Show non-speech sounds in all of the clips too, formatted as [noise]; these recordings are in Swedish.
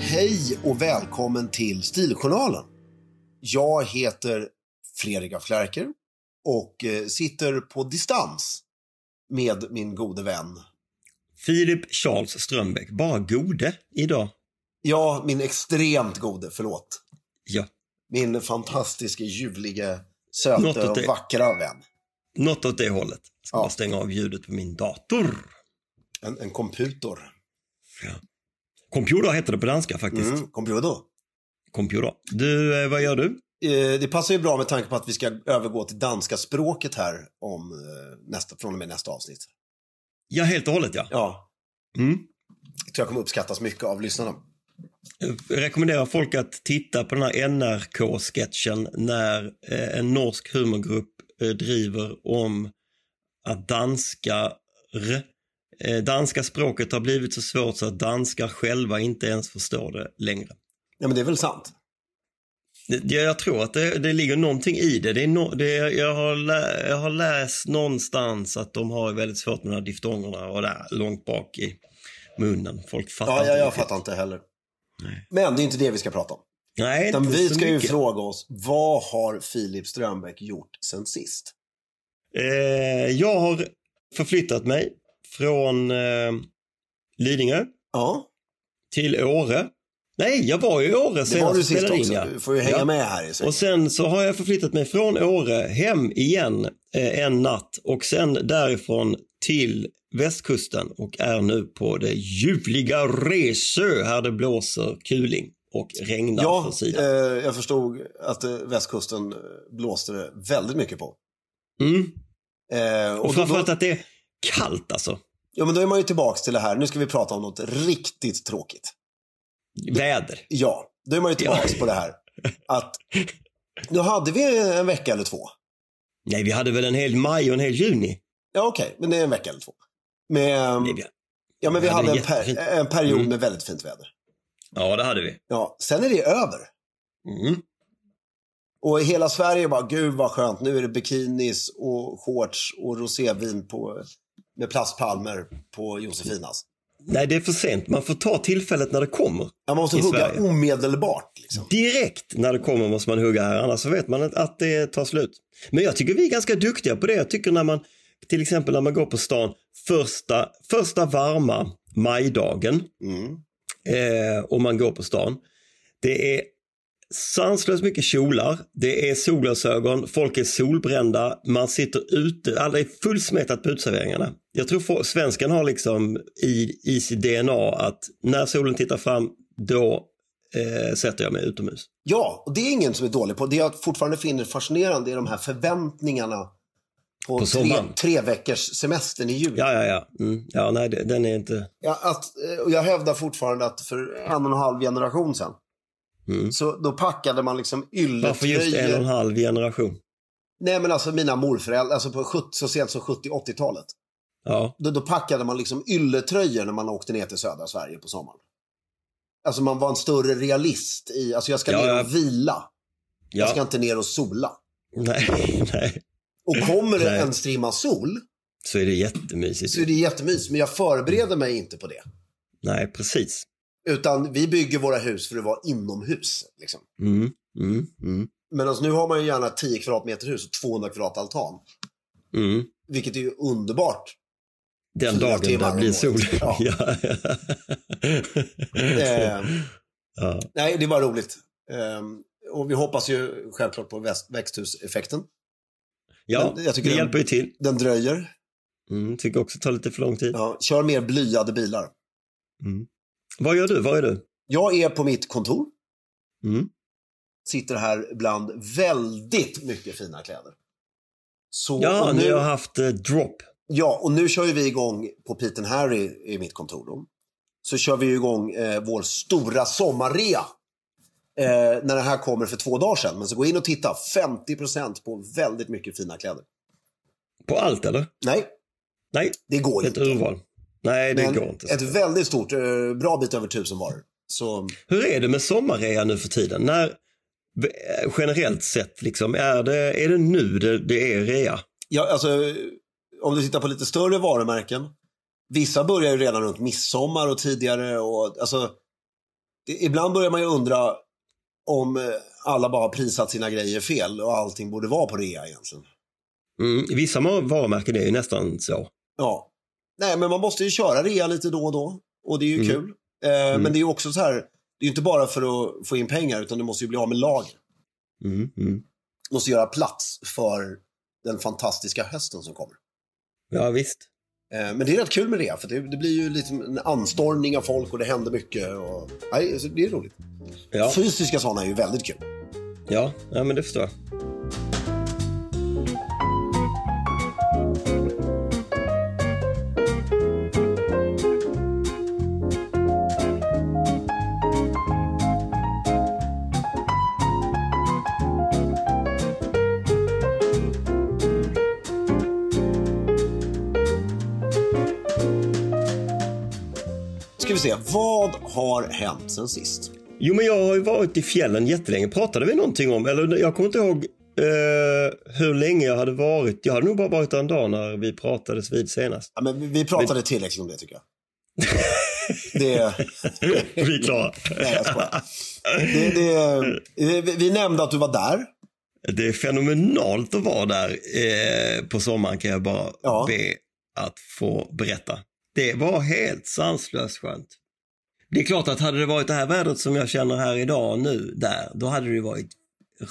Hej och välkommen till Stiljournalen. Jag heter Fredrik af Klerker och eh, sitter på distans med min gode vän. Filip Charles Strömbäck, bara gode idag. Ja, min extremt gode, förlåt. Ja. Min fantastiske, ljuvlige, söte Något åt och det. vackra vän. Något åt det hållet. Ska Ja. bara stänga av ljudet på min dator. En, en computer. Computer heter det på danska faktiskt. Mm, computer. Computer. Du, eh, vad gör du? Eh, Det passar ju bra med tanke på att vi ska övergå till danska språket här om eh, nästa, från och med nästa avsnitt. Ja, helt och hållet ja. Ja, Mm. jag tror jag kommer uppskattas mycket av lyssnarna. Jag rekommenderar folk att titta på den här NRK-sketchen när eh, en norsk humorgrupp eh, driver om att danskar, eh, danska språket har blivit så svårt så att danskar själva inte ens förstår det längre. Ja, men det är väl sant? Det- det- Jag tror att det, det ligger någonting i det. det, är no, det jag, har lä, jag har läst någonstans att de har väldigt svårt med de här diftongerna och där långt bak i munnen. Folk fattar Ja, ja, jag riktigt. fattar inte heller. Men det är inte det vi ska prata om. Nej, Utan inte vi så ska ju mycket. fråga oss, vad har Filip Strömbäck gjort sen sist? Eh, jag har förflyttat mig från eh, Lidingö Ja, till Åre Nej, jag var ju i Åre Det var senast du vi sist spelade in. också. ja. Du får ju hänga Ja. med här. i sig. Och sen så har jag förflyttat mig från Åre hem igen eh, en natt och sen därifrån till västkusten och är nu på det ljuvliga Resö här det blåser kuling och regnar Ja, från sidan. eh, jag förstod att eh, västkusten eh, blåste det väldigt mycket på. Mm. Eh, Och, och då, då, framförallt att det är kallt alltså. ja, men då är man ju tillbaks till det här. Nu ska vi prata om något riktigt tråkigt. Väder. Ja, då är man ju tillbaks på det här. [laughs] Att nu hade vi en vecka eller två. Nej, vi hade väl en hel maj och en hel juni. Ja, okej, men det är en vecka eller två. Men, Nej, vi- ja, men vi vi hade hade en, jättefint. per, en period Mm. med väldigt fint väder. Ja, det hade vi. Ja, sen är det över. Mm. Och hela Sverige bara, gud vad skönt, nu är det bikinis och shorts och rosévin på, med plastpalmer på Josefinas. Nej, det är för sent. Man får ta tillfället när det kommer. Ja, Man måste I hugga Sverige. omedelbart. Liksom. Direkt när det kommer måste man hugga här, annars så vet man att- att det tar slut. Men jag tycker vi är ganska duktiga på det. Jag tycker när man, till exempel när man går på stan, första, första varma majdagen Mm. eh, och man går på stan. Det är sanslöst mycket kjolar, det är solglasögon, folk är solbrända, man sitter ute, alla är fullsmetat på uteserveringarna. Jag tror fo- svensken har liksom i, i sitt DNA att när solen tittar fram, då eh, sätter jag mig utomhus. Ja, och det är ingen som är dålig på. Det jag fortfarande finner fascinerande är de här förväntningarna på, På tre, sommaren. tre veckors semestern i juli. Ja, ja, ja. Mm. Ja, nej, det- den är inte... Ja, att, eh, och jag hävdar fortfarande att för en och en halv generation sedan, Mm. så då packade man liksom Varför just en och en ylletröjor. halv generation? Nej men alltså mina morföräldrar, alltså på 70, så sent som 70-80-talet. Ja, Då, då packade man liksom ylletröjor när man åkte ner till södra Sverige på sommaren. Alltså man var en större realist i, alltså jag ska Ja, ner ja. och vila. Jag ja. ska inte ner och sola. [laughs] Nej, nej. Och kommer det Nej. en strimma sol Så är det jättemysigt. så är det jättemys, men jag förbereder mig inte på det. Nej, precis. Utan vi bygger våra hus för att vara inomhus. Liksom. Mm, mm, mm, Men alltså, nu har man ju gärna 10 kvadratmeter hus och 200 kvadrat altan. mm. Vilket är ju underbart. Den Fyra dagen timmar det om blir året. sol. Ja. [laughs] Ja. Eh, ja. nej, det var roligt. Ehm, och vi hoppas ju självklart på väst, växthuseffekten. ja, men jag tycker det den- hjälper ju till. Den dröjer. Mm, tycker också det tar lite för lång tid. Ja, kör mer blyade bilar. Vad gör du? Vad är du? Jag är på mitt kontor. Mm. Sitter här bland väldigt mycket fina kläder. Så Ja, och nu, ni har haft eh, drop. ja, och nu kör ju vi igång på Pete and Harry i mitt kontor. Då. Så kör vi ju igång eh, vår stora sommarrea. Eh, när den här kommer för två dagar sedan. Men så gå in och titta. 50% på väldigt mycket fina kläder. På allt eller? Nej, Nej, det går ett inte. urval. Nej, det Men går inte. ett väldigt stort, eh, bra bit över tusen varor. Så, Hur är det med sommarrea nu för tiden? När, eh, generellt sett, liksom, är, det, är det nu det, det är rea? ja, alltså, eh, om du tittar på lite större varumärken. Vissa börjar ju redan runt midsommar och tidigare. Och, alltså, det, ibland börjar man ju undra om eh, alla bara har prisat sina grejer fel och allting borde vara på rea egentligen. Mm, vissa ma- varumärken är ju nästan så. Ja. Nej, men man måste ju köra rea lite då och då. Och det är ju Mm. kul. Eh, Men det är ju också så här, det är ju inte bara för att få in pengar utan du måste ju bli av med lager. Mm, mm. måste göra plats för den fantastiska hösten som kommer. Ja, visst. Eh, Men det är rätt kul med det, för det, det blir ju lite en anstormning av folk och det händer mycket. Och, nej, så det är roligt. Ja, Fysiska sådana är ju väldigt kul. ja, ja men det förstår jag. Ska vi se, vad har hänt sen sist? Jo, men jag har ju varit i fjällen jättelänge. Pratade vi någonting om, eller jag kommer inte ihåg eh, hur länge jag hade varit. Jag hade nog bara varit där en dag när vi pratades [laughs] vid senast. Ja, men vi- vi pratade tillräckligt om det tycker jag. [laughs] Det, [laughs] vi är klara. nej, jag skojar. Det, det, vi- vi nämnde att du var där. Det är fenomenalt att vara där eh, på sommaren kan jag bara Ja. be att få berätta. Det var helt sanslöst skönt. Det är klart att hade det varit det här vädret som jag känner här idag nu, där, då hade det ju varit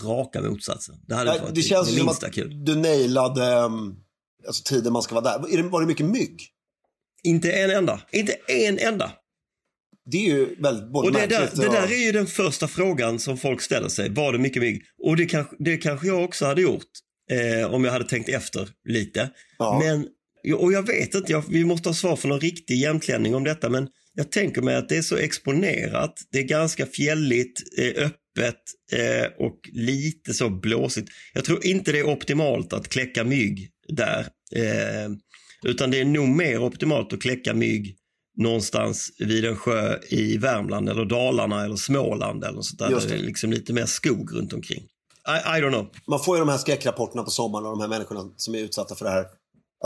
raka motsatsen. Det hade Nej, varit det känns det som minsta att kul. du nailade ehm, alltså, tiden man ska vara där. Är det- Var det mycket mygg? Inte en enda. Inte en enda. Det är ju väldigt både Och det där, märkligt det och- där är ju den första frågan som folk ställer sig. Var det mycket mygg? Och det kanske, det kanske jag också hade gjort eh, om jag hade tänkt efter lite. Ja. Men, och jag vet inte, jag, vi måste ha svar från någon riktig jämtlänning om detta, men jag tänker mig att det är så exponerat. Det är ganska fjälligt, eh, öppet eh, och lite så blåsigt. Jag tror inte det är optimalt att kläcka mygg där. Eh, utan det är nog mer optimalt att kläcka mygg någonstans vid en sjö i Värmland eller Dalarna eller Småland eller sånt där. Just Där det är liksom lite mer skog runt omkring. I, I don't know. Man får ju de här skräckrapporterna på sommaren av de här människorna som är utsatta för det här.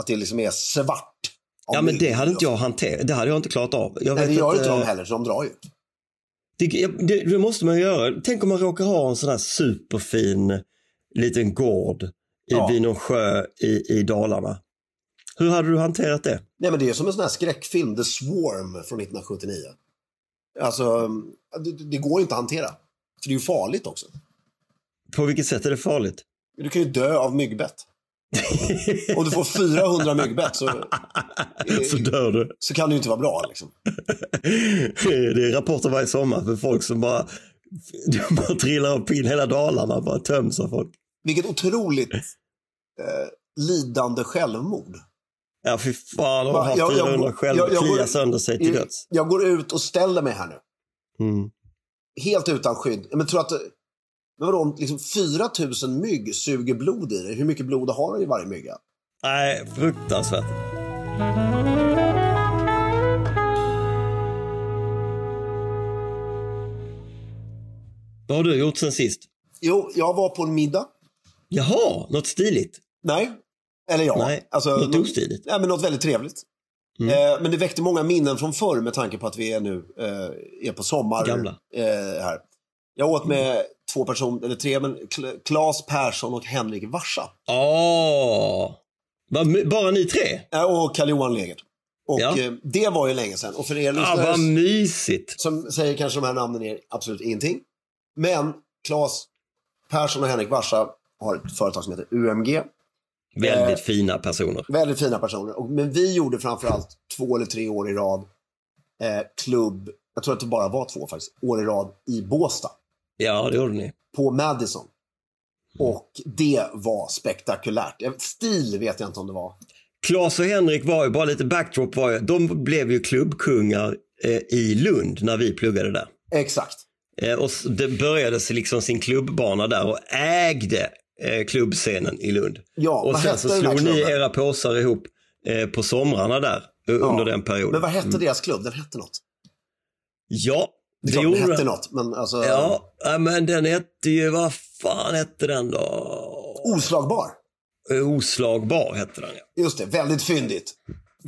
Att det liksom är svart. av Ja, men mygg. det hade inte jag hanterat. Det hade jag inte klarat av. Jag Nej, det gör att, inte eh, de heller, så de drar ju. Det, det, det måste man ju göra. Tänk om man råkar ha en sån här superfin liten gård i, Ja. vid någon sjö i, i Dalarna. Hur hade du hanterat det? Nej, men det är som en sån här skräckfilm, The Swarm från 1979. Alltså, det, det går ju inte att hantera. För det är ju farligt också. På vilket sätt är det farligt? Du kan ju dö av myggbett. Om du får 400 myggbett så, Så dör du. [laughs] så kan det ju inte vara bra. Liksom. Det är rapporter varje sommar för folk som bara, [laughs] de bara trillar upp in hela Dalarna, bara töms av folk. Vilket otroligt eh, lidande självmord. Ja, fy fan, de har haft Jag- jag- 400 själv, jag- Mm. jag- kliar sönder sig till Jag, döds. jag går ut och ställer mig här nu. Mm. Helt utan skydd. Men tror att... Men vadå, om liksom 4 000 mygg suger blod i dig, hur mycket blod har du i varje mygga? Nej, fruktansvärt. Vad har du gjort sen sist? Jo, jag var på en middag. Jaha, något stiligt? Nej. Eller ja. Nej, något ostiligt. Nej, men något väldigt trevligt. Mm. Eh, men det väckte många minnen från förr med tanke på att vi är nu eh, är på sommar. Gamla. Eh, här. Jag åt med två personer, eller tre, men Kl- Claes Persson och Henrik Varsa. Åh! Vad my- Bara ni tre? Eh, och Karl-Johan Legert. Och Ja. eh, det var ju länge sedan. Och för er Ah, lyssnare vad mysigt! som säger kanske de här namnen är absolut ingenting. Men Claes Persson och Henrik Varsa har ett företag som heter UMG. Väldigt fina personer. Väldigt fina personer. Och, men vi gjorde framförallt två eller tre år i rad eh, klubb, jag tror att det bara var två faktiskt, år i rad i Båstad Ja, det gjorde ni. på Madison. Och det var spektakulärt. Jag- Stil vet jag inte om det var. Claes och Henrik var ju, bara lite backdrop var ju, de blev ju klubbkungar eh, i Lund när vi pluggade där. Exakt. Eh, Och s- det började sig liksom sin klubbbana där och ägde eh, klubbscenen i Lund. Ja, och vad sen hette så den där slog ni klubben? era påsar ihop eh, på somrarna där eh, under den perioden. Men vad hette deras klubb? Den hette något. Ja, Det, är Mm. det klart, den gjorde hette den. något. Men alltså, Ja, ja, men den hette ju, vad fan hette den då? oslagbar. Eh, Oslagbar hette den ja. [laughs] Just det, väldigt fyndigt.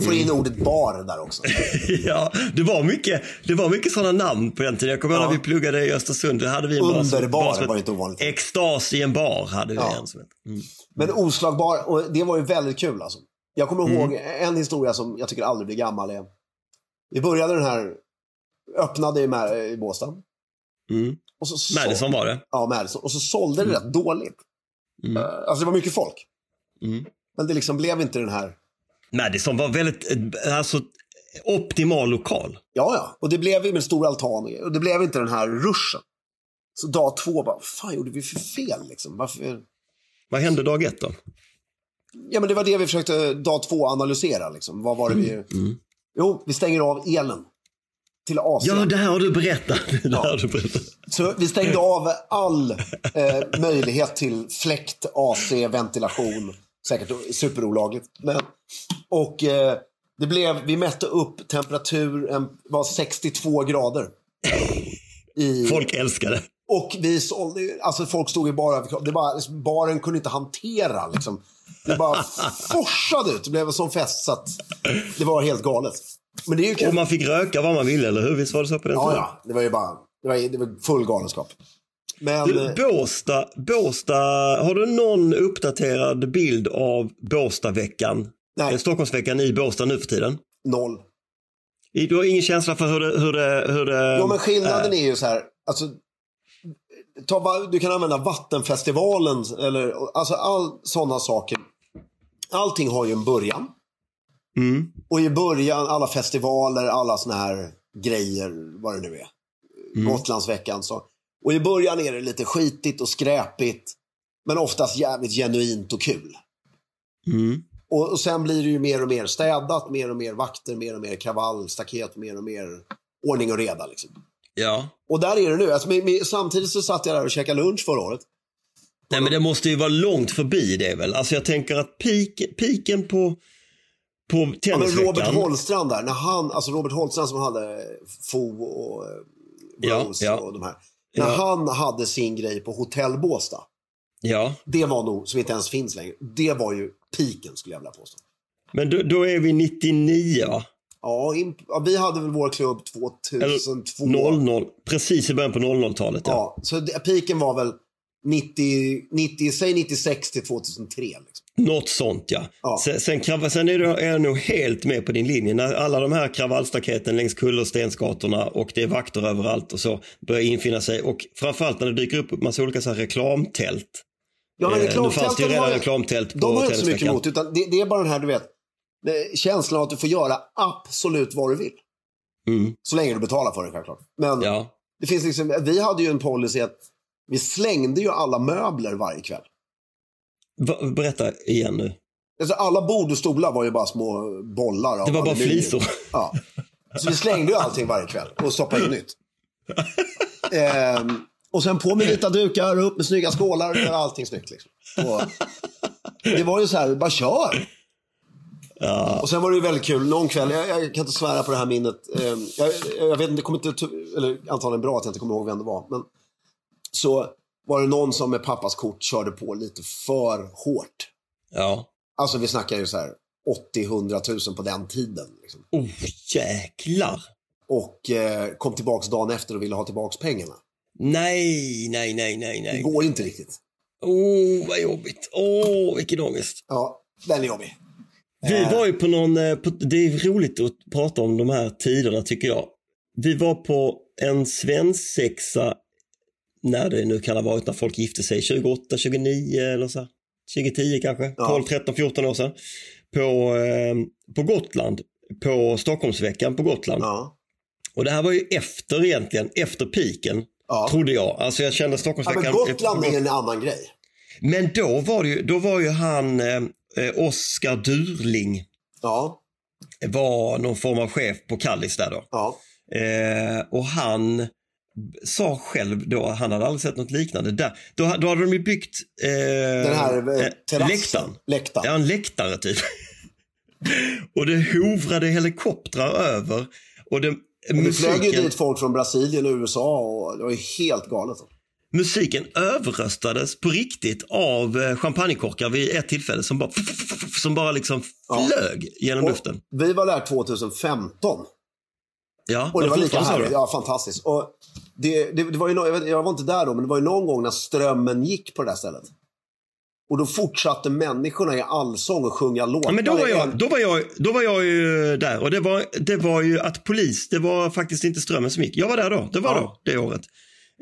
Får in ordet bar där också. ja Mm. det var mycket, det var mycket sådana namn på den tiden. Jag kommer ihåg Ja. när vi pluggade i Östersund. Då hade vi en bar som- Underbar som var hette inte ovanligt. Extas i en bar hade vi Ja. en som hette. Mm. Men oslagbar, och det var ju väldigt kul alltså. Jag kommer ihåg Mm. en historia som jag tycker aldrig blir gammal. Är, vi började den här, öppnade i, Mä- i Båstad. Mm. Och så så- Madison var det. Ja, Madison. Och så sålde det rätt dåligt. Mm. Eh, Alltså det var mycket folk. Mm. Men det liksom blev inte den här... Madison var väldigt, eh, alltså optimal lokal. Ja, ja. Och det blev ju med stor altan och grejer. Och det blev inte den här ruschen. Så dag två bara, vad fan gjorde vi för fel liksom? Varför? Vad hände dag ett då? Ja, men det var det vi försökte eh, dag två analysera liksom. Vad var det vi... Mm. Jo, vi stänger av elen. Till Asien. Ja, det här har du berättat. [laughs] Det här har du berättat. Så vi stängde av all eh, möjlighet till fläkt, AC, ventilation. Säkert superolagligt. Men, och eh, det blev, vi mätte upp temperaturen, var 62 grader. I, Folk älskar det. och vi sålde ju, alltså folk stod i bara överkropp. Det bara, liksom, baren kunde inte hantera liksom. Det bara [laughs] forsade ut. Det blev en sån fest så att det var helt galet. Men det är ju Och kul. man fick röka vad man ville, eller hur? Visst var det så på den Ja, ja. Det var ju bara, det var, det var full galenskap. Men... eh, Du, Båsta, Båsta, har du någon uppdaterad bild av Båstaveckan? Nej. Eh, Stockholmsveckan i Båstad nu för tiden? Noll. Du har ingen känsla för hur det... Hur det, hur det Jo, men skillnaden är ju så här. Alltså, ta, va- du kan använda Vattenfestivalen eller alltså all sådana saker. Allting har ju en början. Mm. Och i början, alla festivaler, alla såna här grejer, vad det nu är. Gotlandsveckan. Så. Och i början är det lite skitigt och skräpigt. Men oftast jävligt genuint och kul. Mm. Och, och sen blir det ju mer och mer städat, mer och mer vakter, mer och mer kravall, staket, mer och mer ordning och reda. Liksom. Ja. Och där är det nu. Alltså, med, med, samtidigt så satt jag där och käkade lunch förra året. Nej, men det måste ju vara långt förbi det väl? Alltså jag tänker att peak, peaken på, på Ja, men tennisveckan... Robert Holstrand där, när han, alltså Robert Holstrand som hade Fo och eh, Ja, Rose ja. och de här. När han hade sin grej på Hotell Båstad, Ja, det var nog, som inte ens finns längre, det var ju piken skulle jag vilja påstå. men då, då är vi 99 va? Ja, in, ja, vi hade väl vår klubb Eller 2002. 00, precis i början på 00-talet. Ja. Ja, så det, piken var väl 90, 90, säg 96 till 2003. Liksom. Något sånt ja. Ja. Sen, sen, krav, sen är, du, är jag nog helt med på din linje. När alla de här kravallstaketen längs kullerstensgatorna och det är vakter överallt och så börjar infinna sig. Och framförallt när det dyker upp massa olika så här reklamtält. Ja, men Eh, reklamtälten nu fanns det ju redan har ju- reklamtält på De har inte så mycket tennisveckan. emot, utan det, det är bara den här, du vet, eh, känslan av att du får göra absolut vad du vill. Mm. Så länge du betalar för det självklart. Men Ja, det finns liksom, vi hade ju en policy att vi slängde ju alla möbler varje kväll. Va, berätta igen nu. Alltså alla bord och stolar var ju bara små bollar. av Det var bara aluminium. flisor. Ja. Så vi slängde ju allting varje kväll och stoppade in nytt. Ehm, och sen på med vita dukar, upp med snygga skålar och göra allting snyggt. Liksom. Och det var ju så här, bara kör! Och sen var det ju väldigt kul, någon kväll, jag, jag kan inte svära på det här minnet. ehm, jag, jag vet inte, det kommer inte, eller antagligen bra att jag inte kommer ihåg vem det var. Men så var det någon som med pappas kort körde på lite för hårt. Ja. Alltså vi snackar ju så här 80-100 000 på den tiden. Liksom. Oh, jäklar. Och eh, kom tillbaks dagen efter och ville ha tillbaks pengarna. Nej, nej, nej, nej, Det nej. går ju inte riktigt. Oh, vad jobbigt. Åh, oh, vilken ångest. Ja, den är jobbig. Vi var ju på någon, eh, på, det är roligt att prata om de här tiderna tycker jag. Vi var på en svensexa, när det nu kan ha varit när folk gifte sig, 28, 29 eller så. här. 2010 kanske, 12, 13, 14 år sedan. På, eh, på Gotland, på Stockholmsveckan på Gotland. Ja. Och det här var ju efter egentligen, efter piken. Ja. Trodde jag. Alltså jag kände ja Stockholmsveckan... men Gotland är en annan grej. Men då var, det ju, då var ju han, eh, eh, Oskar Durling, Ja, var någon form av chef på Kallis där då. ja. Eh, och han b- sa själv då, han hade aldrig sett något liknande. Där, då, ha- då hade de ju byggt eh, Den här eh, terrassen. läktaren. Läktaren. Ja, en läktare typ. [laughs] och det hovrade helikoptrar över. Och det, Vi flög ju musiken, dit folk från Brasilien och USA och det var ju helt galet. musiken överröstades på riktigt av eh, champagnekorkar vid ett tillfälle som bara, som bara liksom Ja. flög genom Och luften. vi var där 2015. Ja, Och det var lika fortfarande så härligt. då. Ja, fantastiskt. Och det, det, det var ju, nå- jag, vet, jag var inte där då, men det var ju någon gång när strömmen gick på det där stället. Och då fortsatte människorna i allsång att sjunga låtar. Ja, men då var, i jag, en- då, var jag, då var jag ju där och det var, det var ju att polis, det var faktiskt inte strömmen som gick. Jag var där då, det var Ja. då, det året.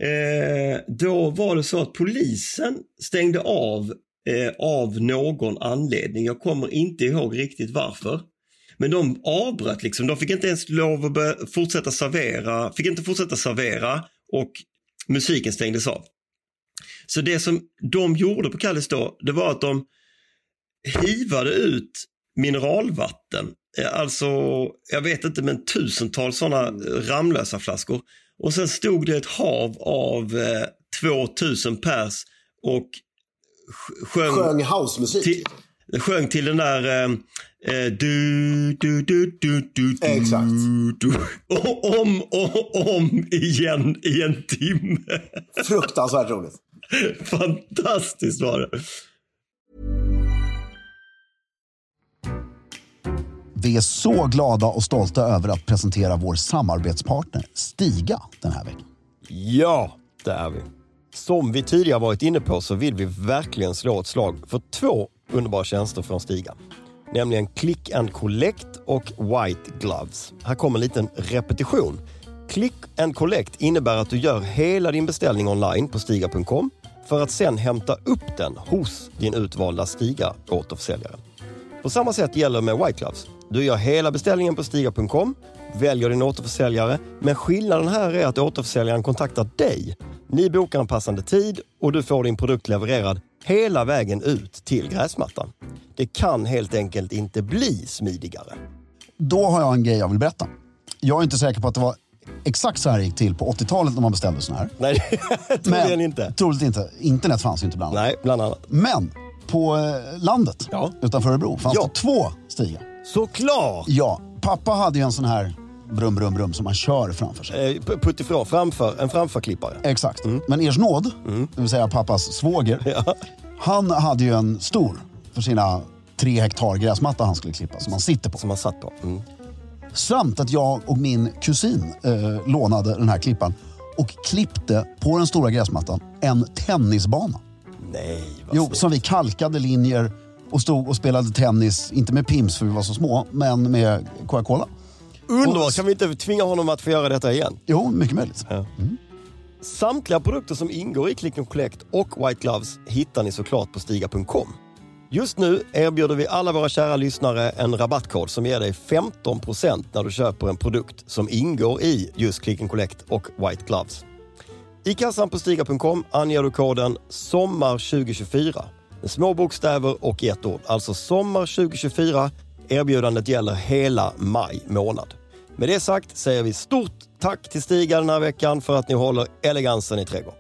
Eh, då var det så att polisen stängde av eh, av någon anledning. Jag kommer inte ihåg riktigt varför. Men de avbröt liksom. De fick inte ens lov att börja- fortsätta servera, fick inte fortsätta servera och musiken stängdes av. Så det som de gjorde på Kallis då, det var att de hivade ut mineralvatten. Eh, Alltså, jag vet inte, men tusentals sådana Ramlösa flaskor. Och sen stod det ett hav av eh, 2000 pers och sj- sjöng, sjöng housemusik. till, sjöng till den där eh, eh, du, du, du, du, du, du, Exakt. du, [laughs] och om och om igen i en timme. Fruktansvärt roligt. Fantastiskt var det. Vi är så glada och stolta över att presentera vår samarbetspartner Stiga den här veckan. Ja, det är vi. Som vi tidigare varit inne på så vill vi verkligen slå ett slag för två underbara tjänster från Stiga. Nämligen Click and Collect och White Gloves. Här kommer en liten repetition. Click and collect innebär att du gör hela din beställning online på Stiga.com för att sen hämta upp den hos din utvalda Stiga återförsäljare. På samma sätt gäller med White Gloves. Du gör hela beställningen på Stiga.com, väljer din återförsäljare, men skillnaden här är att återförsäljaren kontaktar dig. Ni bokar en passande tid och du får din produkt levererad hela vägen ut till gräsmattan. Det kan helt enkelt inte bli smidigare. Då har jag en grej jag vill berätta. Jag är inte säker på att det var exakt så här det gick till på 80-talet när man beställde såna här. Nej, [laughs] troligen inte. Troligt inte. Internet fanns ju inte bland annat. Nej, bland annat. Men på eh, landet Ja. utanför Örebro fanns Ja. det två stigar. Såklart! Ja, pappa hade ju en sån här brum, brum, brum som man kör framför sig. Eh, p- Puttifrån, framför, en framförklippare. Exakt. Men Ers nåd, det vill säga pappas svåger, han hade ju en stor för sina tre hektar gräsmatta han skulle klippa som han sitter på. Som man satt på. Mm. Samt att jag och min kusin eh, lånade den här klippan och klippte på den stora gräsmattan en tennisbana. Nej, vad Jo, snyggt. som vi kalkade linjer och stod och spelade tennis, inte med Pims för vi var så små, men med Coca-Cola. Underbart! Kan vi inte tvinga honom att få göra detta igen? Jo, mycket möjligt. Samtliga produkter som ingår i Click and Collect och White Gloves hittar ni såklart på Stiga.com. Just nu erbjuder vi alla våra kära lyssnare en rabattkod som ger dig 15% när du köper en produkt som ingår i just Click and Collect och White Gloves. I kassan på Stiga.com anger du koden SOMMAR2024 med små bokstäver och i ett ord. Alltså SOMMAR2024. Erbjudandet gäller hela maj månad. Med det sagt säger vi stort tack till Stiga den här veckan för att ni håller elegansen i trädgården.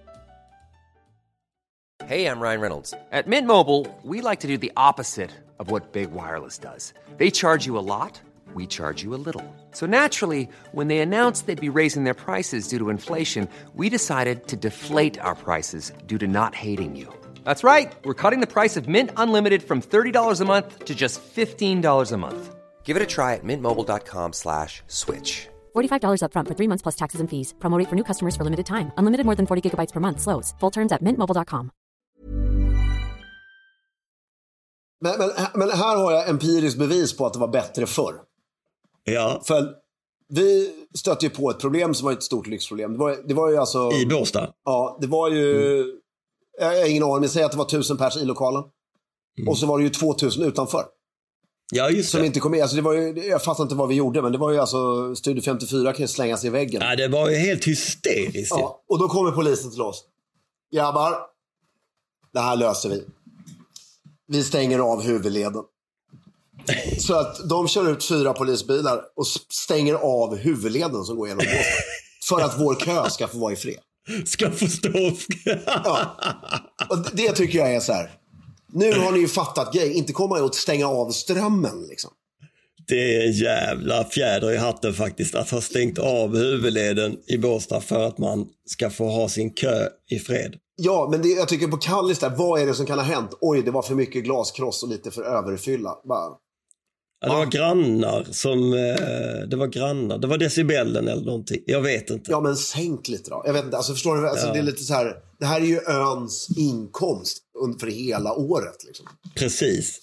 Hey, I'm Ryan Reynolds. At Mint Mobile, we like to do the opposite of what Big Wireless does. They charge you a lot, we charge you a little. So naturally, when they announced they'd be raising their prices due to inflation, we decided to deflate our prices due to not hating you. That's right. We're cutting the price of Mint Unlimited from $30 a month to just $15 a month. Give it a try at mintmobile.com slash switch. $45 upfront for three months plus taxes and fees. Promo rate for new customers for limited time. Unlimited more than 40 gigabytes per month. Slows. Full terms at mintmobile.com. Men, men, men här har jag empiriskt bevis på att det var bättre förr. Ja, För vi stötte ju på ett problem som var ett stort lyxproblem. Det var, det var ju alltså... i Mm. Båstad. Ja, det var ju... Jag har ingen aning, men säg att det var tusen pers i lokalen. Mm. Och så var det ju 2000 utanför. Ja, just Som det. inte kom med. Alltså det var ju, jag fattar inte vad vi gjorde, men det var ju alltså Studio 54 kan ju slängas i väggen. Ja, det var ju helt hysteriskt. ju. Ja, och då kommer polisen till oss. Grabbar, det här löser vi. Vi stänger av huvudleden. Så att de kör ut fyra polisbilar och s- stänger av huvudleden som går genom Båstad. För att vår kö ska få vara i fred. Ska förstå. Och d- det tycker jag är så här. Nu har ni ju fattat grejen. Inte komma åt att stänga av strömmen. Liksom. Det är en jävla fjäder i hatten faktiskt att ha stängt av huvudleden i Båstad för att man ska få ha sin kö i fred. Ja, men det, jag tycker på Kallis där, vad är det som kan ha hänt? Oj, det var för mycket glaskross och lite för överfylla. Bara, Ja, det var grannar som... Eh, det var grannar. Det var decibellen eller någonting. Jag vet inte. ja, men sänk lite då. Jag vet inte, alltså förstår du? Alltså, Det är lite så här, det här är ju öns inkomst un- för hela året. Liksom. Precis.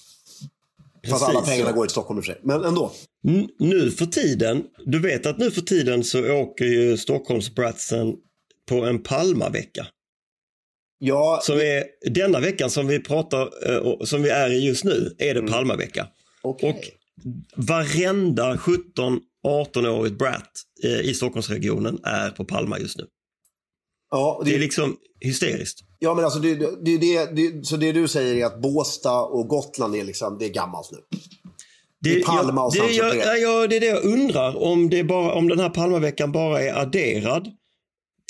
Fast alla Precis, pengarna ja. går i Stockholm i och för sig. Men ändå. N- nu för tiden, du vet att nu för tiden så åker ju Stockholmsbratsen på en Palmavecka. Ja, Som är denna veckan som vi pratar, eh, och som vi är i just nu, är det Palmavecka. okej. och- Varenda 17-18-årigt brat eh, i Stockholmsregionen är på Palma just nu. Ja, Det det, är liksom hysteriskt. ja, men alltså, det, det, det, det, så det du säger är att Båstad och Gotland är, liksom, det är gammalt nu. I Palma och jag, det, Sancho jag, Pérez. ja, ja, det är det jag undrar, om, det är bara, om den här Palmaveckan bara är adderad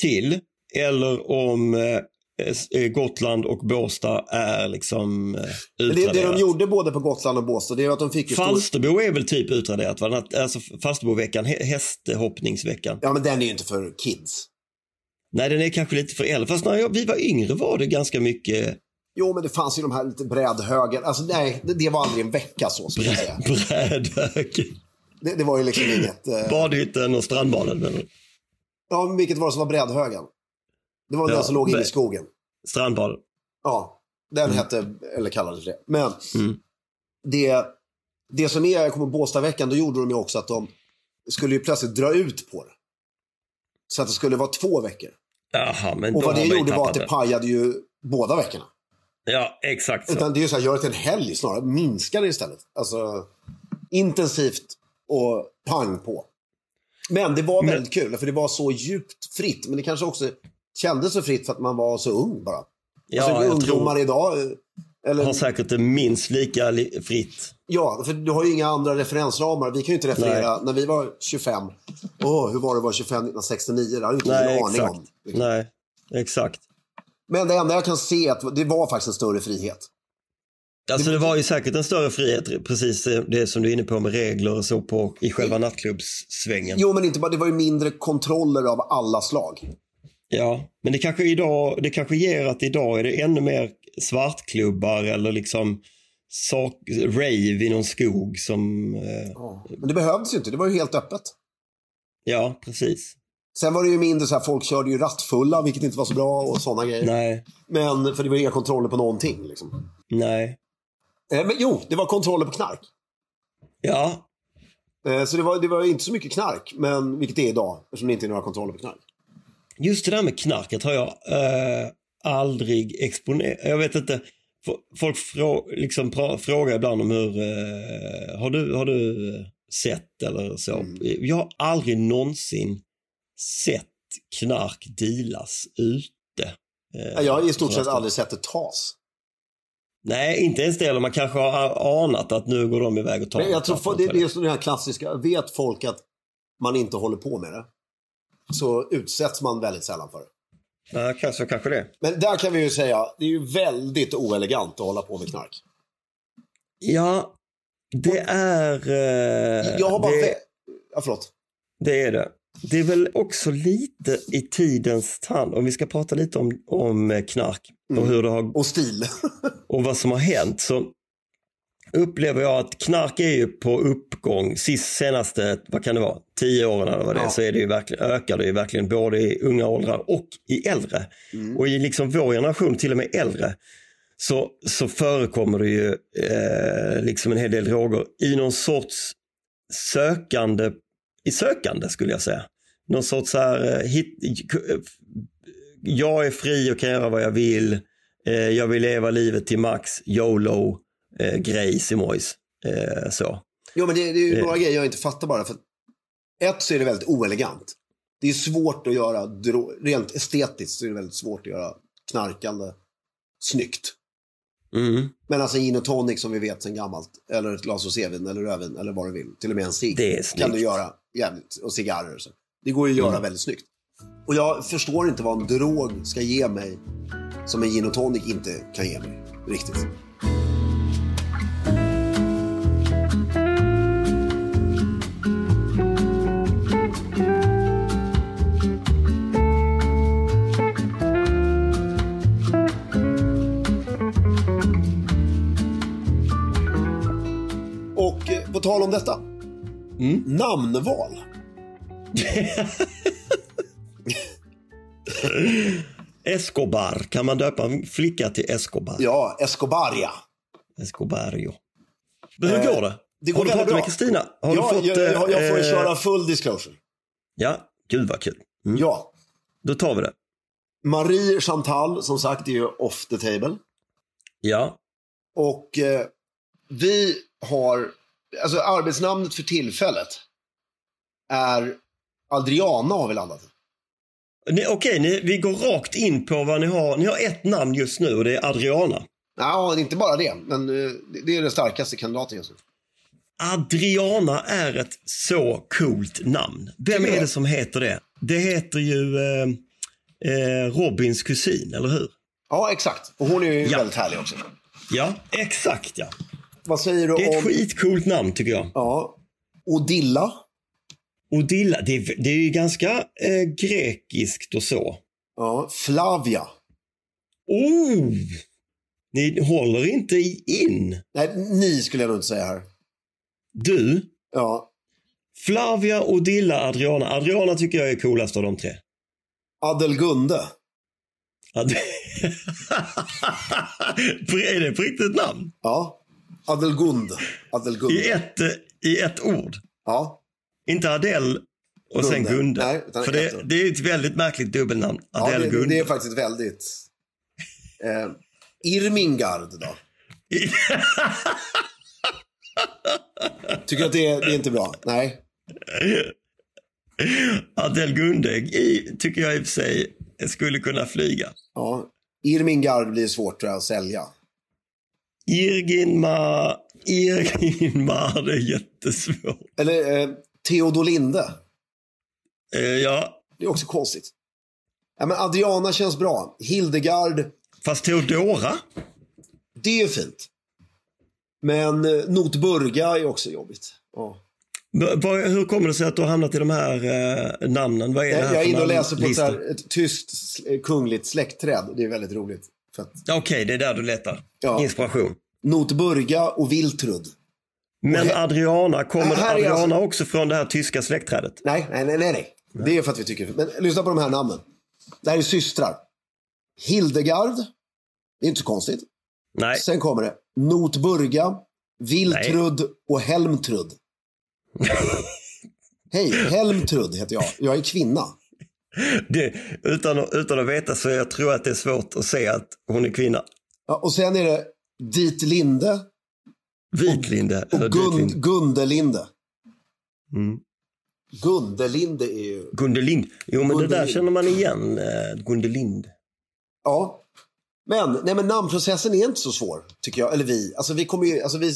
till eller om eh, s- eh, Gotland och Båstad är liksom eh, Men Det, utraderat. det de gjorde både på Gotland och Båstad, det är att de fick ju... stor- Falsterbo är väl typ utraderat? Va? Den här- Alltså Falsterboveckan, hä- hästhoppningsveckan. Ja, men den är ju inte för kids. Nej, den är kanske lite för äldre. Fast när jag, vi var yngre var det ganska mycket [laughs] Jo, men det fanns ju de här lite brädhögen. Alltså nej, det, det var aldrig en vecka så, skulle jag säga. brädök. Det, det var ju liksom inget... Eh... Badhytten och strandbaden. Men Ja, men vilket var det som var brädhögen? Det var Ja, den som låg inne i men- skogen. strandbaden. Mm. Ja, den hette, eller kallades för det. Men det, Det som är, jag kommer ihåg Båstadveckan, då gjorde de ju också att de skulle ju plötsligt dra ut på det. Så att det skulle vara två veckor. Jaha, men Och då vad har det man ju gjorde var tappat att det det. pajade ju båda veckorna. Ja, exakt så. Utan det är ju så här, gör det till en helg snarare. Minska det istället. Alltså intensivt och pang på. Men det var Men- väldigt kul, för det var så djupt fritt. Men det kanske också kändes så fritt för att man var så ung bara. Ja, alltså jag ungdomar tror idag, eh, eller har säkert det minst lika li- fritt. Ja, för du har ju inga andra referensramar. Vi kan ju inte referera när vi var 25. Åh, hur var det att vara 25 1969? Det hade vi inte Nej, en aning exakt. om. liksom. Nej, exakt. Men det enda jag kan se är att det var faktiskt en större frihet. Alltså det var ju säkert en större frihet, precis det som du är inne på med regler och så på, i själva nattklubbssvängen. Mm. Jo, men inte bara, det var ju mindre kontroller av alla slag. Ja, men det kanske, idag, det kanske ger att idag är det ännu mer svartklubbar eller liksom sak, rave i någon skog som... Eh, Men det behövdes ju inte, det var ju helt öppet. ja, precis. Sen var det ju mindre så här, folk körde ju rattfulla, vilket inte var så bra och sådana grejer. Nej, Men, för det var ju inga kontroller på någonting. Liksom. nej. Eh, men jo, det var kontroller på knark. Ja, Eh, så det var, det var ju inte så mycket knark, men, vilket det är idag, eftersom det inte är några kontroller på knark. Just det där med knarket har jag eh, aldrig exponerat. Jag vet inte. F- Folk frå liksom pra- frågar ibland om hur... Eh, har, du, har du eh, sett eller så? Jag har aldrig någonsin sett knark dealas ute. Eh, Jag har i stort så sett att- aldrig sett det tas. Nej, inte ens det. Eller man kanske har anat att nu går de iväg och tar... Men jag tror tar- för, det, det är så det här klassiska, vet folk att man inte håller på med det så utsätts man väldigt sällan för det. Ja, kanske, kanske det. Men där kan vi ju säga, det är ju väldigt oelegant att hålla på med knark. Ja, det är... Eh, Jag har bara... det- Det... Ja, förlåt. Det är det. Det är väl också lite i tidens tand, om vi ska prata lite om, om eh, knark och, Mm. hur det har, Och stil. [laughs] och vad som har hänt, så upplever jag att knark är ju på uppgång. Sist, senaste, vad kan det vara, tio åren eller vad det är, så är det ju verkligen, ökar det ju verkligen både i unga åldrar och i äldre. Och i liksom vår generation, till och med äldre, så, så förekommer det ju eh, liksom en hel del droger i någon sorts sökande, i sökande skulle jag säga. Någon sorts så här, eh, hit, jag är fri och kan göra vad jag vill. Eh, jag vill leva livet till max, YOLO, eh, grej, Simois. Eh, så. Jo, men det, det är ju Det- några grejer jag inte fattar bara. För ett så är det väldigt oelegant. Det är svårt att göra, dro- rent estetiskt så är det väldigt svårt att göra knarkande snyggt. Mm. Men alltså gin och tonic som vi vet sedan gammalt, eller ett glas rosévin eller rödvin eller vad du vill, till och med en cigg Det är kan snyggt. Mm. du göra jävligt, och cigarrer och så. Det går ju att göra väldigt snyggt. Och jag förstår inte vad en drog ska ge mig som en gin och tonic inte kan ge mig. Riktigt. Och eh, på tal om detta. Mm. Namnval. Escobar, kan man döpa en flicka till Escobar? Ja, Escobaria. Escobario. Men hur går det? det går har väldigt du pratat med bra. Kristina? Har ja, du fått... jag, jag, jag får eh, köra full disclosure. Ja, gud vad kul. Ja. Då tar vi det. Marie Chantal, som sagt, är ju off the table. Ja, Och eh, vi har, alltså arbetsnamnet för tillfället är Adriana har vi landat i. Ni, okej, ni, vi går rakt in på vad ni har. Ni har ett namn just nu och det är Adriana. Nej, inte bara det, men eh, det- det är den starkaste kandidaten just nu. Adriana är ett så coolt namn. Vem Tycker du är det? det som heter det? Det heter ju eh, eh, Robins kusin, eller hur? Ja, exakt. Och hon är ju Ja. väldigt härlig också. Ja, exakt ja. Vad säger du Det är ett om skitcoolt namn tycker jag. ja, Odilla? Odilla, det, är- det är ju ganska eh, grekiskt och så. Ja, Flavia? Oh! Ni håller inte i- in. Nej, ni skulle jag nog inte säga här. Du, Ja, Flavia, Odilla, Adriana. Adriana tycker jag är coolast av de tre. Adelgunde. [laughs] Ja, det- är det på riktigt namn? Ja. Adelgund. Adelgund. I ett, eh, i ett ord. Ja. Inte Adele och sen Gunde. Gunde. Nej, utan För ett det, ord. det är ett väldigt märkligt dubbelnamn. ja Adele det, Gunde. det är faktiskt väldigt... Eh, Irmingard då? Tycker att det är, det är inte bra? Nej. Adele Gunde i, tycker jag i och för sig skulle kunna flyga. Ja. Irmingard blir svårt tror jag att sälja. Irginmar, Irginmar, [laughs] det är jättesvårt. Eller eh, Theodor Linde. Eh, ja, Det är också konstigt. Ja, men Adriana känns bra. Hildegard, fast Teodora? det är ju fint. Men eh, Notburga är också jobbigt. Ja. V- vad- Hur kommer det sig att du har hamnat i de här eh, namnen? Vad är det Jag, här jag är för inne och läser på ett, så namnlista? här, ett tyskt sl- eh, kungligt släktträd. Det är väldigt roligt. För att Okej, det är där du letar. Ja. Inspiration. Notburga och Viltrud. Men Adriana, kommer Här är Adriana alltså- också från det här tyska släktträdet? Nej, nej, nej, nej, nej. Det är för att vi tycker Men lyssna på de här namnen. Det här är systrar. Hildegard. Det är inte så konstigt. Nej. Sen kommer det Notburga, Viltrud och [laughs] Helmtrud. Hej, Helmtrud heter jag. Jag är kvinna. Det, utan, att- utan att veta så jag tror att det är svårt att se att hon är kvinna. Ja, och sen är det Dit Linde Vitlinde. och eller Gund, Ditlinde. Gundelinde. Mm. Gundelinde är ju... Gundelind. Jo, men det där Gundelind. känner man igen. eh, Gundelind. Ja. Men, nej, men namnprocessen är inte så svår, tycker jag. Eller vi. Alltså, vi, kommer ju, alltså, vi,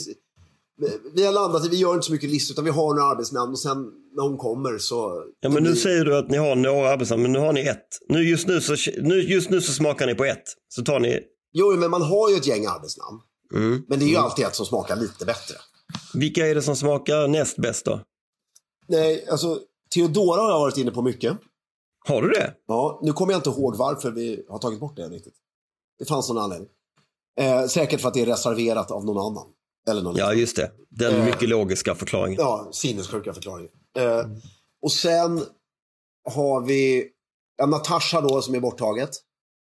vi har landat i, vi gör inte så mycket listor, utan vi har några arbetsnamn och sen när hon kommer så... Ja, men nu säger du att ni har några arbetsnamn, men nu har ni ett. Nu just, nu, så, nu, just nu så smakar ni på ett. Så tar ni... Jo, men man har ju ett gäng arbetsnamn. Mm. Men det är ju alltid ett som smakar lite bättre. Vilka är det som smakar näst bäst då? Nej, alltså Theodora har jag varit inne på mycket. Har du det? Ja, nu kommer jag inte ihåg varför vi har tagit bort det riktigt. Det fanns någon anledning. Eh, säkert för att det är reserverat av någon annan. Eller någon Ja, just det. Den mycket logiska förklaringen. ja sinnessjuka förklaringar. Eh, och sen har vi ja, Natasha då som är borttaget.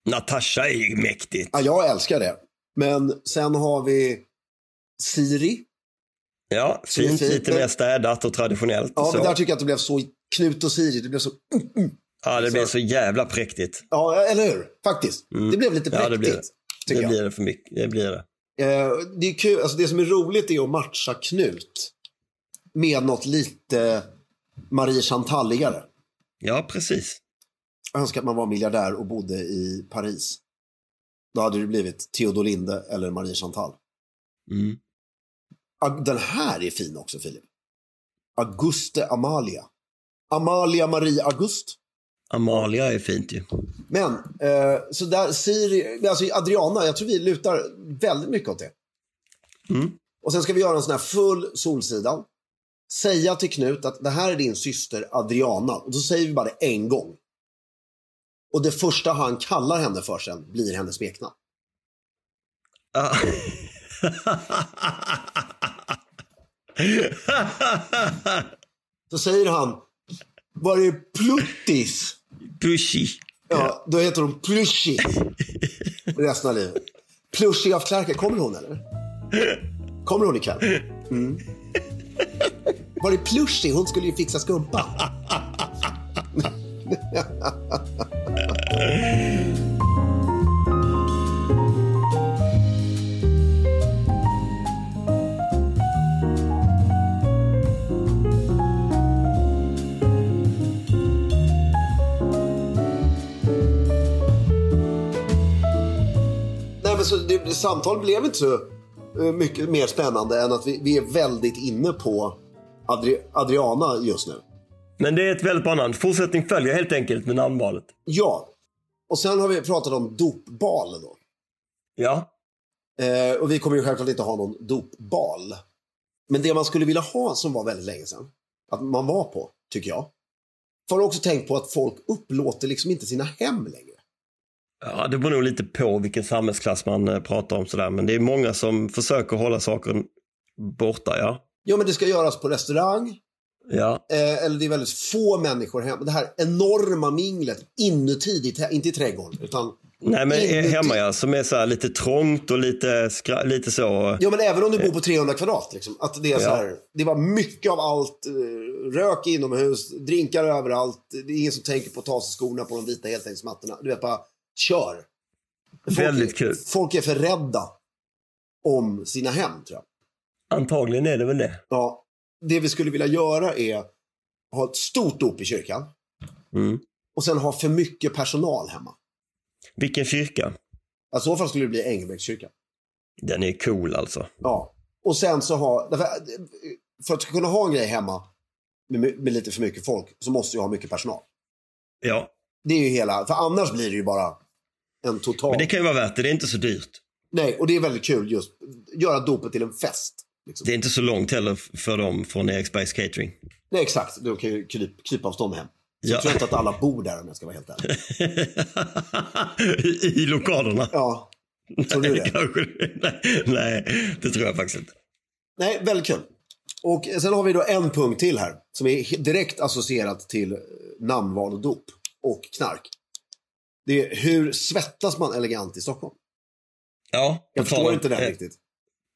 Natasha är ju mäktigt. Ja, jag älskar det. Men sen har vi Siri. Ja, Så det är fint. fint, Lite men- mer städat och traditionellt. Ja, och men där så. tycker jag att det blev så Knut och Siri. Det blev så... Ja, det blir så jävla präktigt. Ja, eller hur? Faktiskt. Det blev lite präktigt. Mm. Ja, det blir det. tycker Det jag. blir det för mycket. Det blir det. Eh, det, är kul. Alltså, det som är roligt är att matcha Knut med något lite Marie Chantaligare. Ja, precis. Jag önskar att man var miljardär och bodde i Paris. Då hade det blivit Theodor Linde eller Marie Chantal. Mm. Ag- Den här är fin också, Filip. Auguste Amalia. Amalia Marie August. Amalia är fint ju. Men, eh, så där, Siri, alltså Adriana, jag tror vi lutar väldigt mycket åt det. Mm. Och sen ska vi göra en sån här full Solsidan. Säga till Knut att det här är din syster Adriana. Och då säger vi bara det en gång. Och det första han kallar henne för sen blir hennes smeknamn. Ah. [laughs] Då säger han, var är Pluttis? Pushy. Ja, då heter hon Plushy. Resten av livet. Plushy av Clarka. Kommer hon eller? Kommer hon ikväll? Mm. Var det Plushy? Hon skulle ju fixa skumpa. Nej, men så det, samtal blev inte så eh, mycket mer spännande än att vi, vi är väldigt inne på Adri, Adriana just nu. Men det är ett väldigt bra namn. Fortsättning följer helt enkelt med namnvalet. Ja, och sen har vi pratat om dopbal då. Ja. Eh, och vi kommer ju självklart inte ha någon dopbal. Men det man skulle vilja ha som var väldigt länge sedan, att man var på, tycker jag. Har du också tänkt på att folk upplåter liksom inte sina hem längre? ja, det beror nog lite på vilken samhällsklass man eh, pratar om sådär. Men det är många som försöker hålla saker borta, ja. Ja, men det ska göras på restaurang. Ja, Eh, eller det är väldigt få människor hemma. Det här enorma minglet inuti, ditt, he- inte i trädgården, utan Nej, men Inuti. eh, hemma ja, som är så här lite trångt och lite, skra- lite så. Ja, men även om du Eh. bor på 300 kvadrat. Liksom, att det, är så här, det var mycket av allt. eh, Rök inomhus, drinkar överallt. Det är ingen som tänker på att ta av sig skorna på de vita heltäckningsmattorna. Du vet, bara kör. Väldigt kul. Folk är för rädda om sina hem, tror jag. Antagligen är det väl det. Ja, det vi skulle vilja göra är ha ett stort dop i kyrkan. Mm. Och sen ha för mycket personal hemma. Alltså, Vilken kyrka. I så fall skulle det bli Engelbrektskyrkan. Den är cool alltså. Ja. Och sen så ha... därför- eh, För att kunna ha en grej hemma med, med lite för mycket folk så måste jag ha mycket personal. Ja, Det är ju hela... För annars blir det ju bara en total... men det kan ju vara värt det. Det är inte så dyrt. Nej, och det är väldigt kul just. Göra dopet till en fest. Liksom. Det är inte så långt heller f- för dem från Eriksbergs Catering. [laughs] Nej, exakt. Du kan ju kryp, krypavstånd hem. Så Ja. Jag tror inte att alla bor där om jag ska vara helt [laughs] ärlig. I, I lokalerna. Ja, tror du det? Kanske, nej, nej, det tror jag faktiskt inte. Nej, väldigt kul. Och sen har vi då en punkt till här som är he- direkt associerat till eh, namnval och dop och knark. Det är hur svettas man elegant i Stockholm? Ja, Jag på tal förstår om, inte det här eh, riktigt.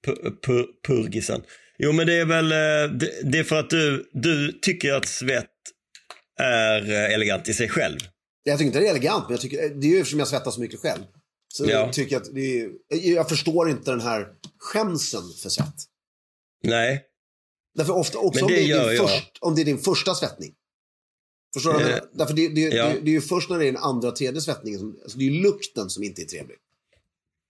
pu- pu- purgisen. Jo, men det är väl eh, det, det är för att du, du tycker att svett är eh, elegant i sig själv. Jag tycker inte det är elegant, men jag tycker, eh, det är ju eftersom jag svettas så mycket själv. Så Ja. jag tycker att det är, eh, jag förstår inte den här skämsen för svett. Nej, Därför ofta också Men om det det, är gör din jag. först, om det är din första svettning. Förstår du vad jag Eh, menar? Därför det, det, ja. det, det är ju först när det är den andra, tredje svettningen, som, alltså det är ju lukten som inte är trevlig.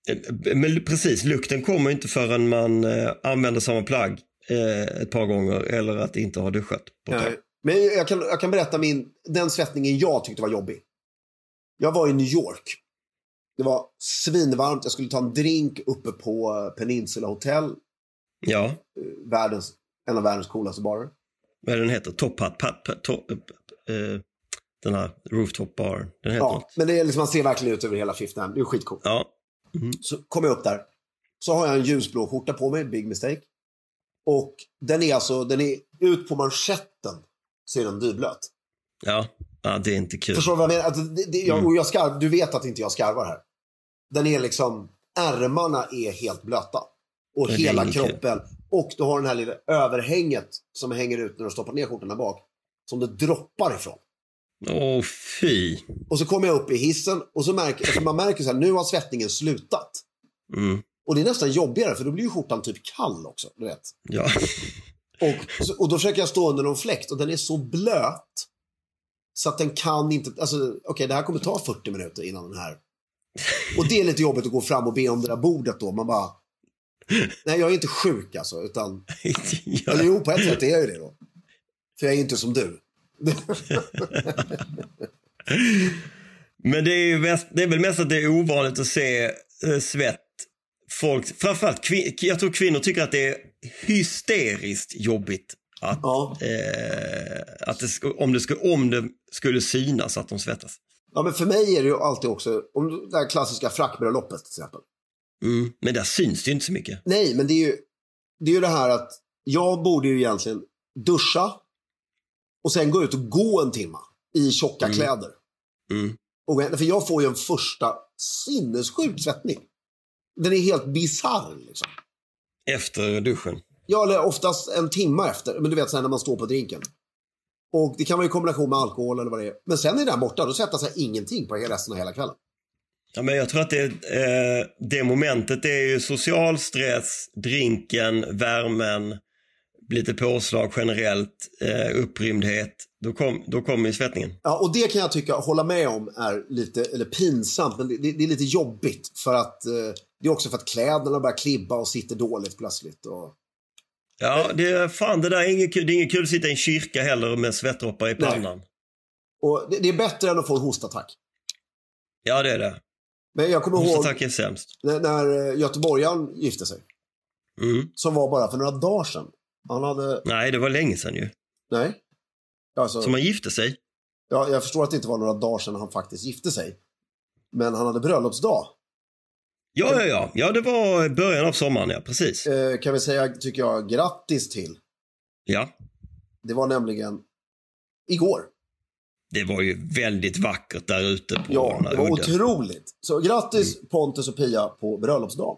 Eh, men precis. Lukten kommer ju inte förrän man eh, använder samma plagg eh, ett par gånger eller att inte ha duschat. På ett tag. Nej. Eh, Men jag kan, jag kan berätta min, den svettningen jag tyckte var jobbig. Jag var i New York. Det var svinvarmt. Jag skulle ta en drink uppe på eh, Peninsula Hotel. Ja, eh, Världens, en av världens coolaste barer. vad är den heter? Top hat, pat, pat, to, eh, den här rooftop bar. Den heter Ja, något. men det är liksom, man ser verkligen ut över hela Fifth Avenue. Det är skitcoolt. Ja, Så kommer jag upp där. Så har jag en ljusblå skjorta på mig, big mistake. Och den är alltså, den är ut på manschetten så är den dyblöt. ja, ja, det är inte kul. Förstår du vad jag menar? Alltså, det, det, Mm. jag, och jag skarv, du vet att inte jag skarvar här. Den är liksom, ärmarna är helt blöta. Och det är hela ingen kul. kroppen. Och du har den här lilla överhänget som hänger ut när du stoppar ner skjortan där bak. Som det droppar ifrån. Åh, fy. Och så kommer jag upp i hissen och så märker alltså man märker så här, nu har svettningen slutat. Mm, Och det är nästan jobbigare för då blir ju skjortan typ kall också. Du vet. ja. [laughs] Och, så- och då försöker jag stå under någon fläkt och den är så blöt. Så att den kan inte, alltså okej det här kommer ta 40 minuter innan den här. Och det är lite jobbigt att gå fram och be om det där bordet då. Man bara, nej jag är inte sjuk alltså. Utan, ja. eller jo på ett sätt är jag ju det då. För jag är ju inte som du. Men det är, ju mest, det är väl mest att det är ovanligt att se eh, svett. Folk, framförallt kvin, jag tror kvinnor tycker att det är hysteriskt jobbigt att, Ja. eh, att det, sk- om, det skulle, om det skulle synas att de svettas. ja men för mig är det ju alltid också, om det här klassiska frackbröllopet till exempel. Mm. Men där syns det ju inte så mycket. Nej, men det är ju det, är ju det här att jag borde ju egentligen duscha och sen gå ut och gå en timme i tjocka kläder. Mm. Och, för jag får ju en första sinnessjuk svettning. Den är helt bisarr. Liksom. Efter duschen. Ja, eller oftast en timme efter. Men du vet, så här när man står på drinken. Och det kan vara i kombination med alkohol eller vad det är. Men sen är den borta. Då svettas jag ingenting på hela- resten av hela kvällen. Ja, men jag tror att det, eh, det momentet det är ju social stress, drinken, värmen, lite påslag generellt, eh, upprymdhet. Då kom- då kommer ju svettningen. Ja, och det kan jag tycka, hålla med om, är lite, eller pinsamt, men det, det, det är lite jobbigt. För att, eh, det är också för att kläderna börjar klibba och sitter dåligt plötsligt. Och, Ja, det är, fan det där är inget kul. Det är inget kul att sitta i en kyrka heller med svettdroppar i pannan. och det, det är bättre än att få en hostattack. Ja, det är det. Men jag kommer ihåg Hostattack är sämst. när, när eh, göteborgaren gifte sig, Mm. som var bara för några dagar sedan. Han hade, Nej, det var länge sedan ju. nej. Alltså, Så man gifte sig. jag, jag förstår att det inte var några dagar sedan han faktiskt gifte sig. Men han hade bröllopsdag. Ja, ja, ja. Ja, det var början av sommaren, ja. Precis. Eh, kan vi säga, tycker jag, grattis till. Ja. Det var nämligen igår. Det var ju väldigt vackert där Mm. ute på Ja, den här det var udden. otroligt. Så grattis Pontus och Pia på bröllopsdagen.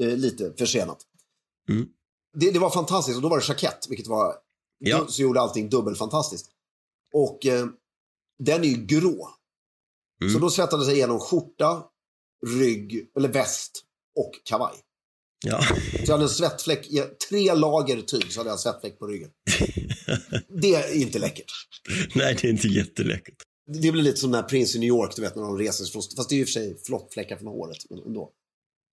Eh, lite försenat. Mm. Det, det var fantastiskt och då var det Jaquette, vilket var, Ja. så gjorde allting dubbelfantastiskt. Och eh, den är ju grå. Mm. Så då svettade sig igenom skjorta, rygg, eller väst och kavaj. Ja. Så jag hade en svettfläck, i tre lager tyg så hade jag en svettfläck på [laughs] ryggen. det är inte läckert. [laughs] Nej, det är inte jätteläckert. Det blir lite som när Prince i New York, du vet när de reser sig från... Fast det är ju i och för sig flottfläckar från håret. Men ändå.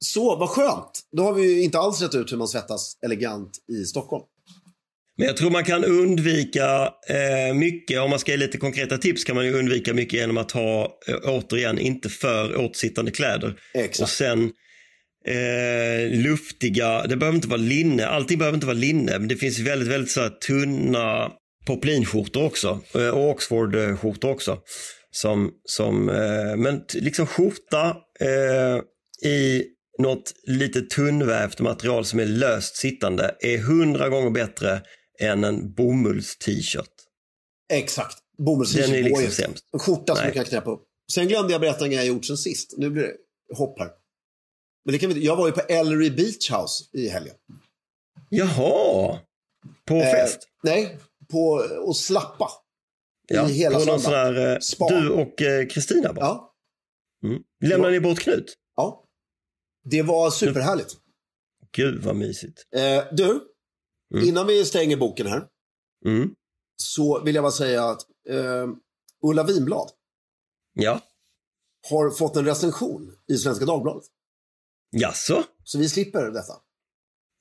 Så, vad skönt! Då har vi ju inte alls rätt ut hur man svettas elegant i Stockholm. Men jag tror man kan undvika eh, mycket, om man ska ge lite konkreta tips kan man ju undvika mycket genom att ha, eh, återigen, inte för åtsittande kläder. Och Exakt. sen eh, luftiga, det behöver inte vara linne, allting behöver inte vara linne, men det finns väldigt, väldigt så här, tunna poplinskjortor också, eh, och Oxford-skjortor också. Som, som, eh, men t- liksom skjorta eh, i något lite tunnvävt material som är löst sittande är hundra gånger bättre än en bomulls-t-shirt. Exakt. Bomullsfisk Den är går liksom ju. sämst. En skjorta som Nej. du kan knäppa upp. Sen glömde jag berätta en grej jag gjort sen sist. Nu blir det hopp här. Men det kan vi inte- Jag var ju på Ellery Beach House i helgen. Jaha! På Eh, fest? nej, på och slappa. ja, I hela på någon sån söndagen. här, eh, Spa. Du och eh, Kristina bara? Ja, Mm. Lämnar ni bort Knut? ja. Det var superhärligt. Gud vad mysigt. Eh, du, Mm. innan vi stänger boken här. Mm. så vill jag bara säga att eh, Ulla Winblad Ja. har fått en recension i Svenska Dagbladet. Jaså? Så vi slipper detta.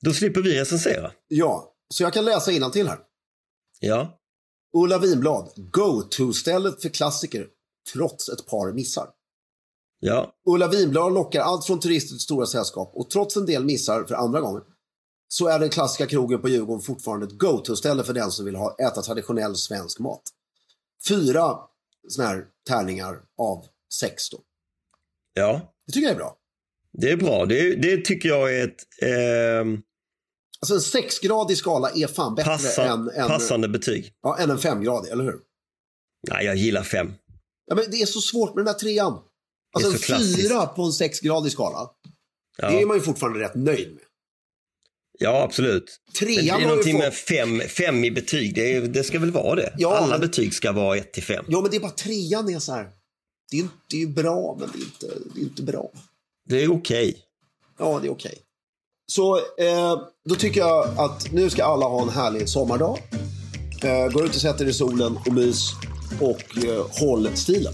Då slipper vi recensera. Ja, så jag kan läsa till här. Ja. Ulla Winblad, go-to-stället för klassiker trots ett par missar. Ja. Ulla Vinblad lockar allt från turister till stora sällskap och trots en del missar för andra gången så är den klassiska krogen på Djurgården fortfarande ett go-to-ställe för den som vill ha, äta traditionell svensk mat. Fyra såna här tärningar av sex då. Ja. Det tycker jag är bra. Det är bra. Det, det tycker jag är ett ehm, Alltså en sexgradig skala är fan bättre passa, än, än, passande betyg. ja, än en femgradig, eller hur? Nej, jag gillar fem. Ja, men det är så svårt med den där trean. Det är Alltså en så klassiskt. fyra på en sexgradig skala, Ja, det är man ju fortfarande rätt nöjd med. ja absolut. Men det Trean är har ju någonting fått... med fem, fem i betyg. Det, är, det ska väl vara det? Ja, Alla men- betyg ska vara ett till fem. Ja, men det är bara trean är så här. Det är ju det är ju bra, men det är inte, det är inte bra. Det är okej. Ja, det är okej. Så eh, då tycker jag att nu ska alla ha en härlig sommardag. Eh, gå ut och sätt er i solen och mys och eh, håll stilen.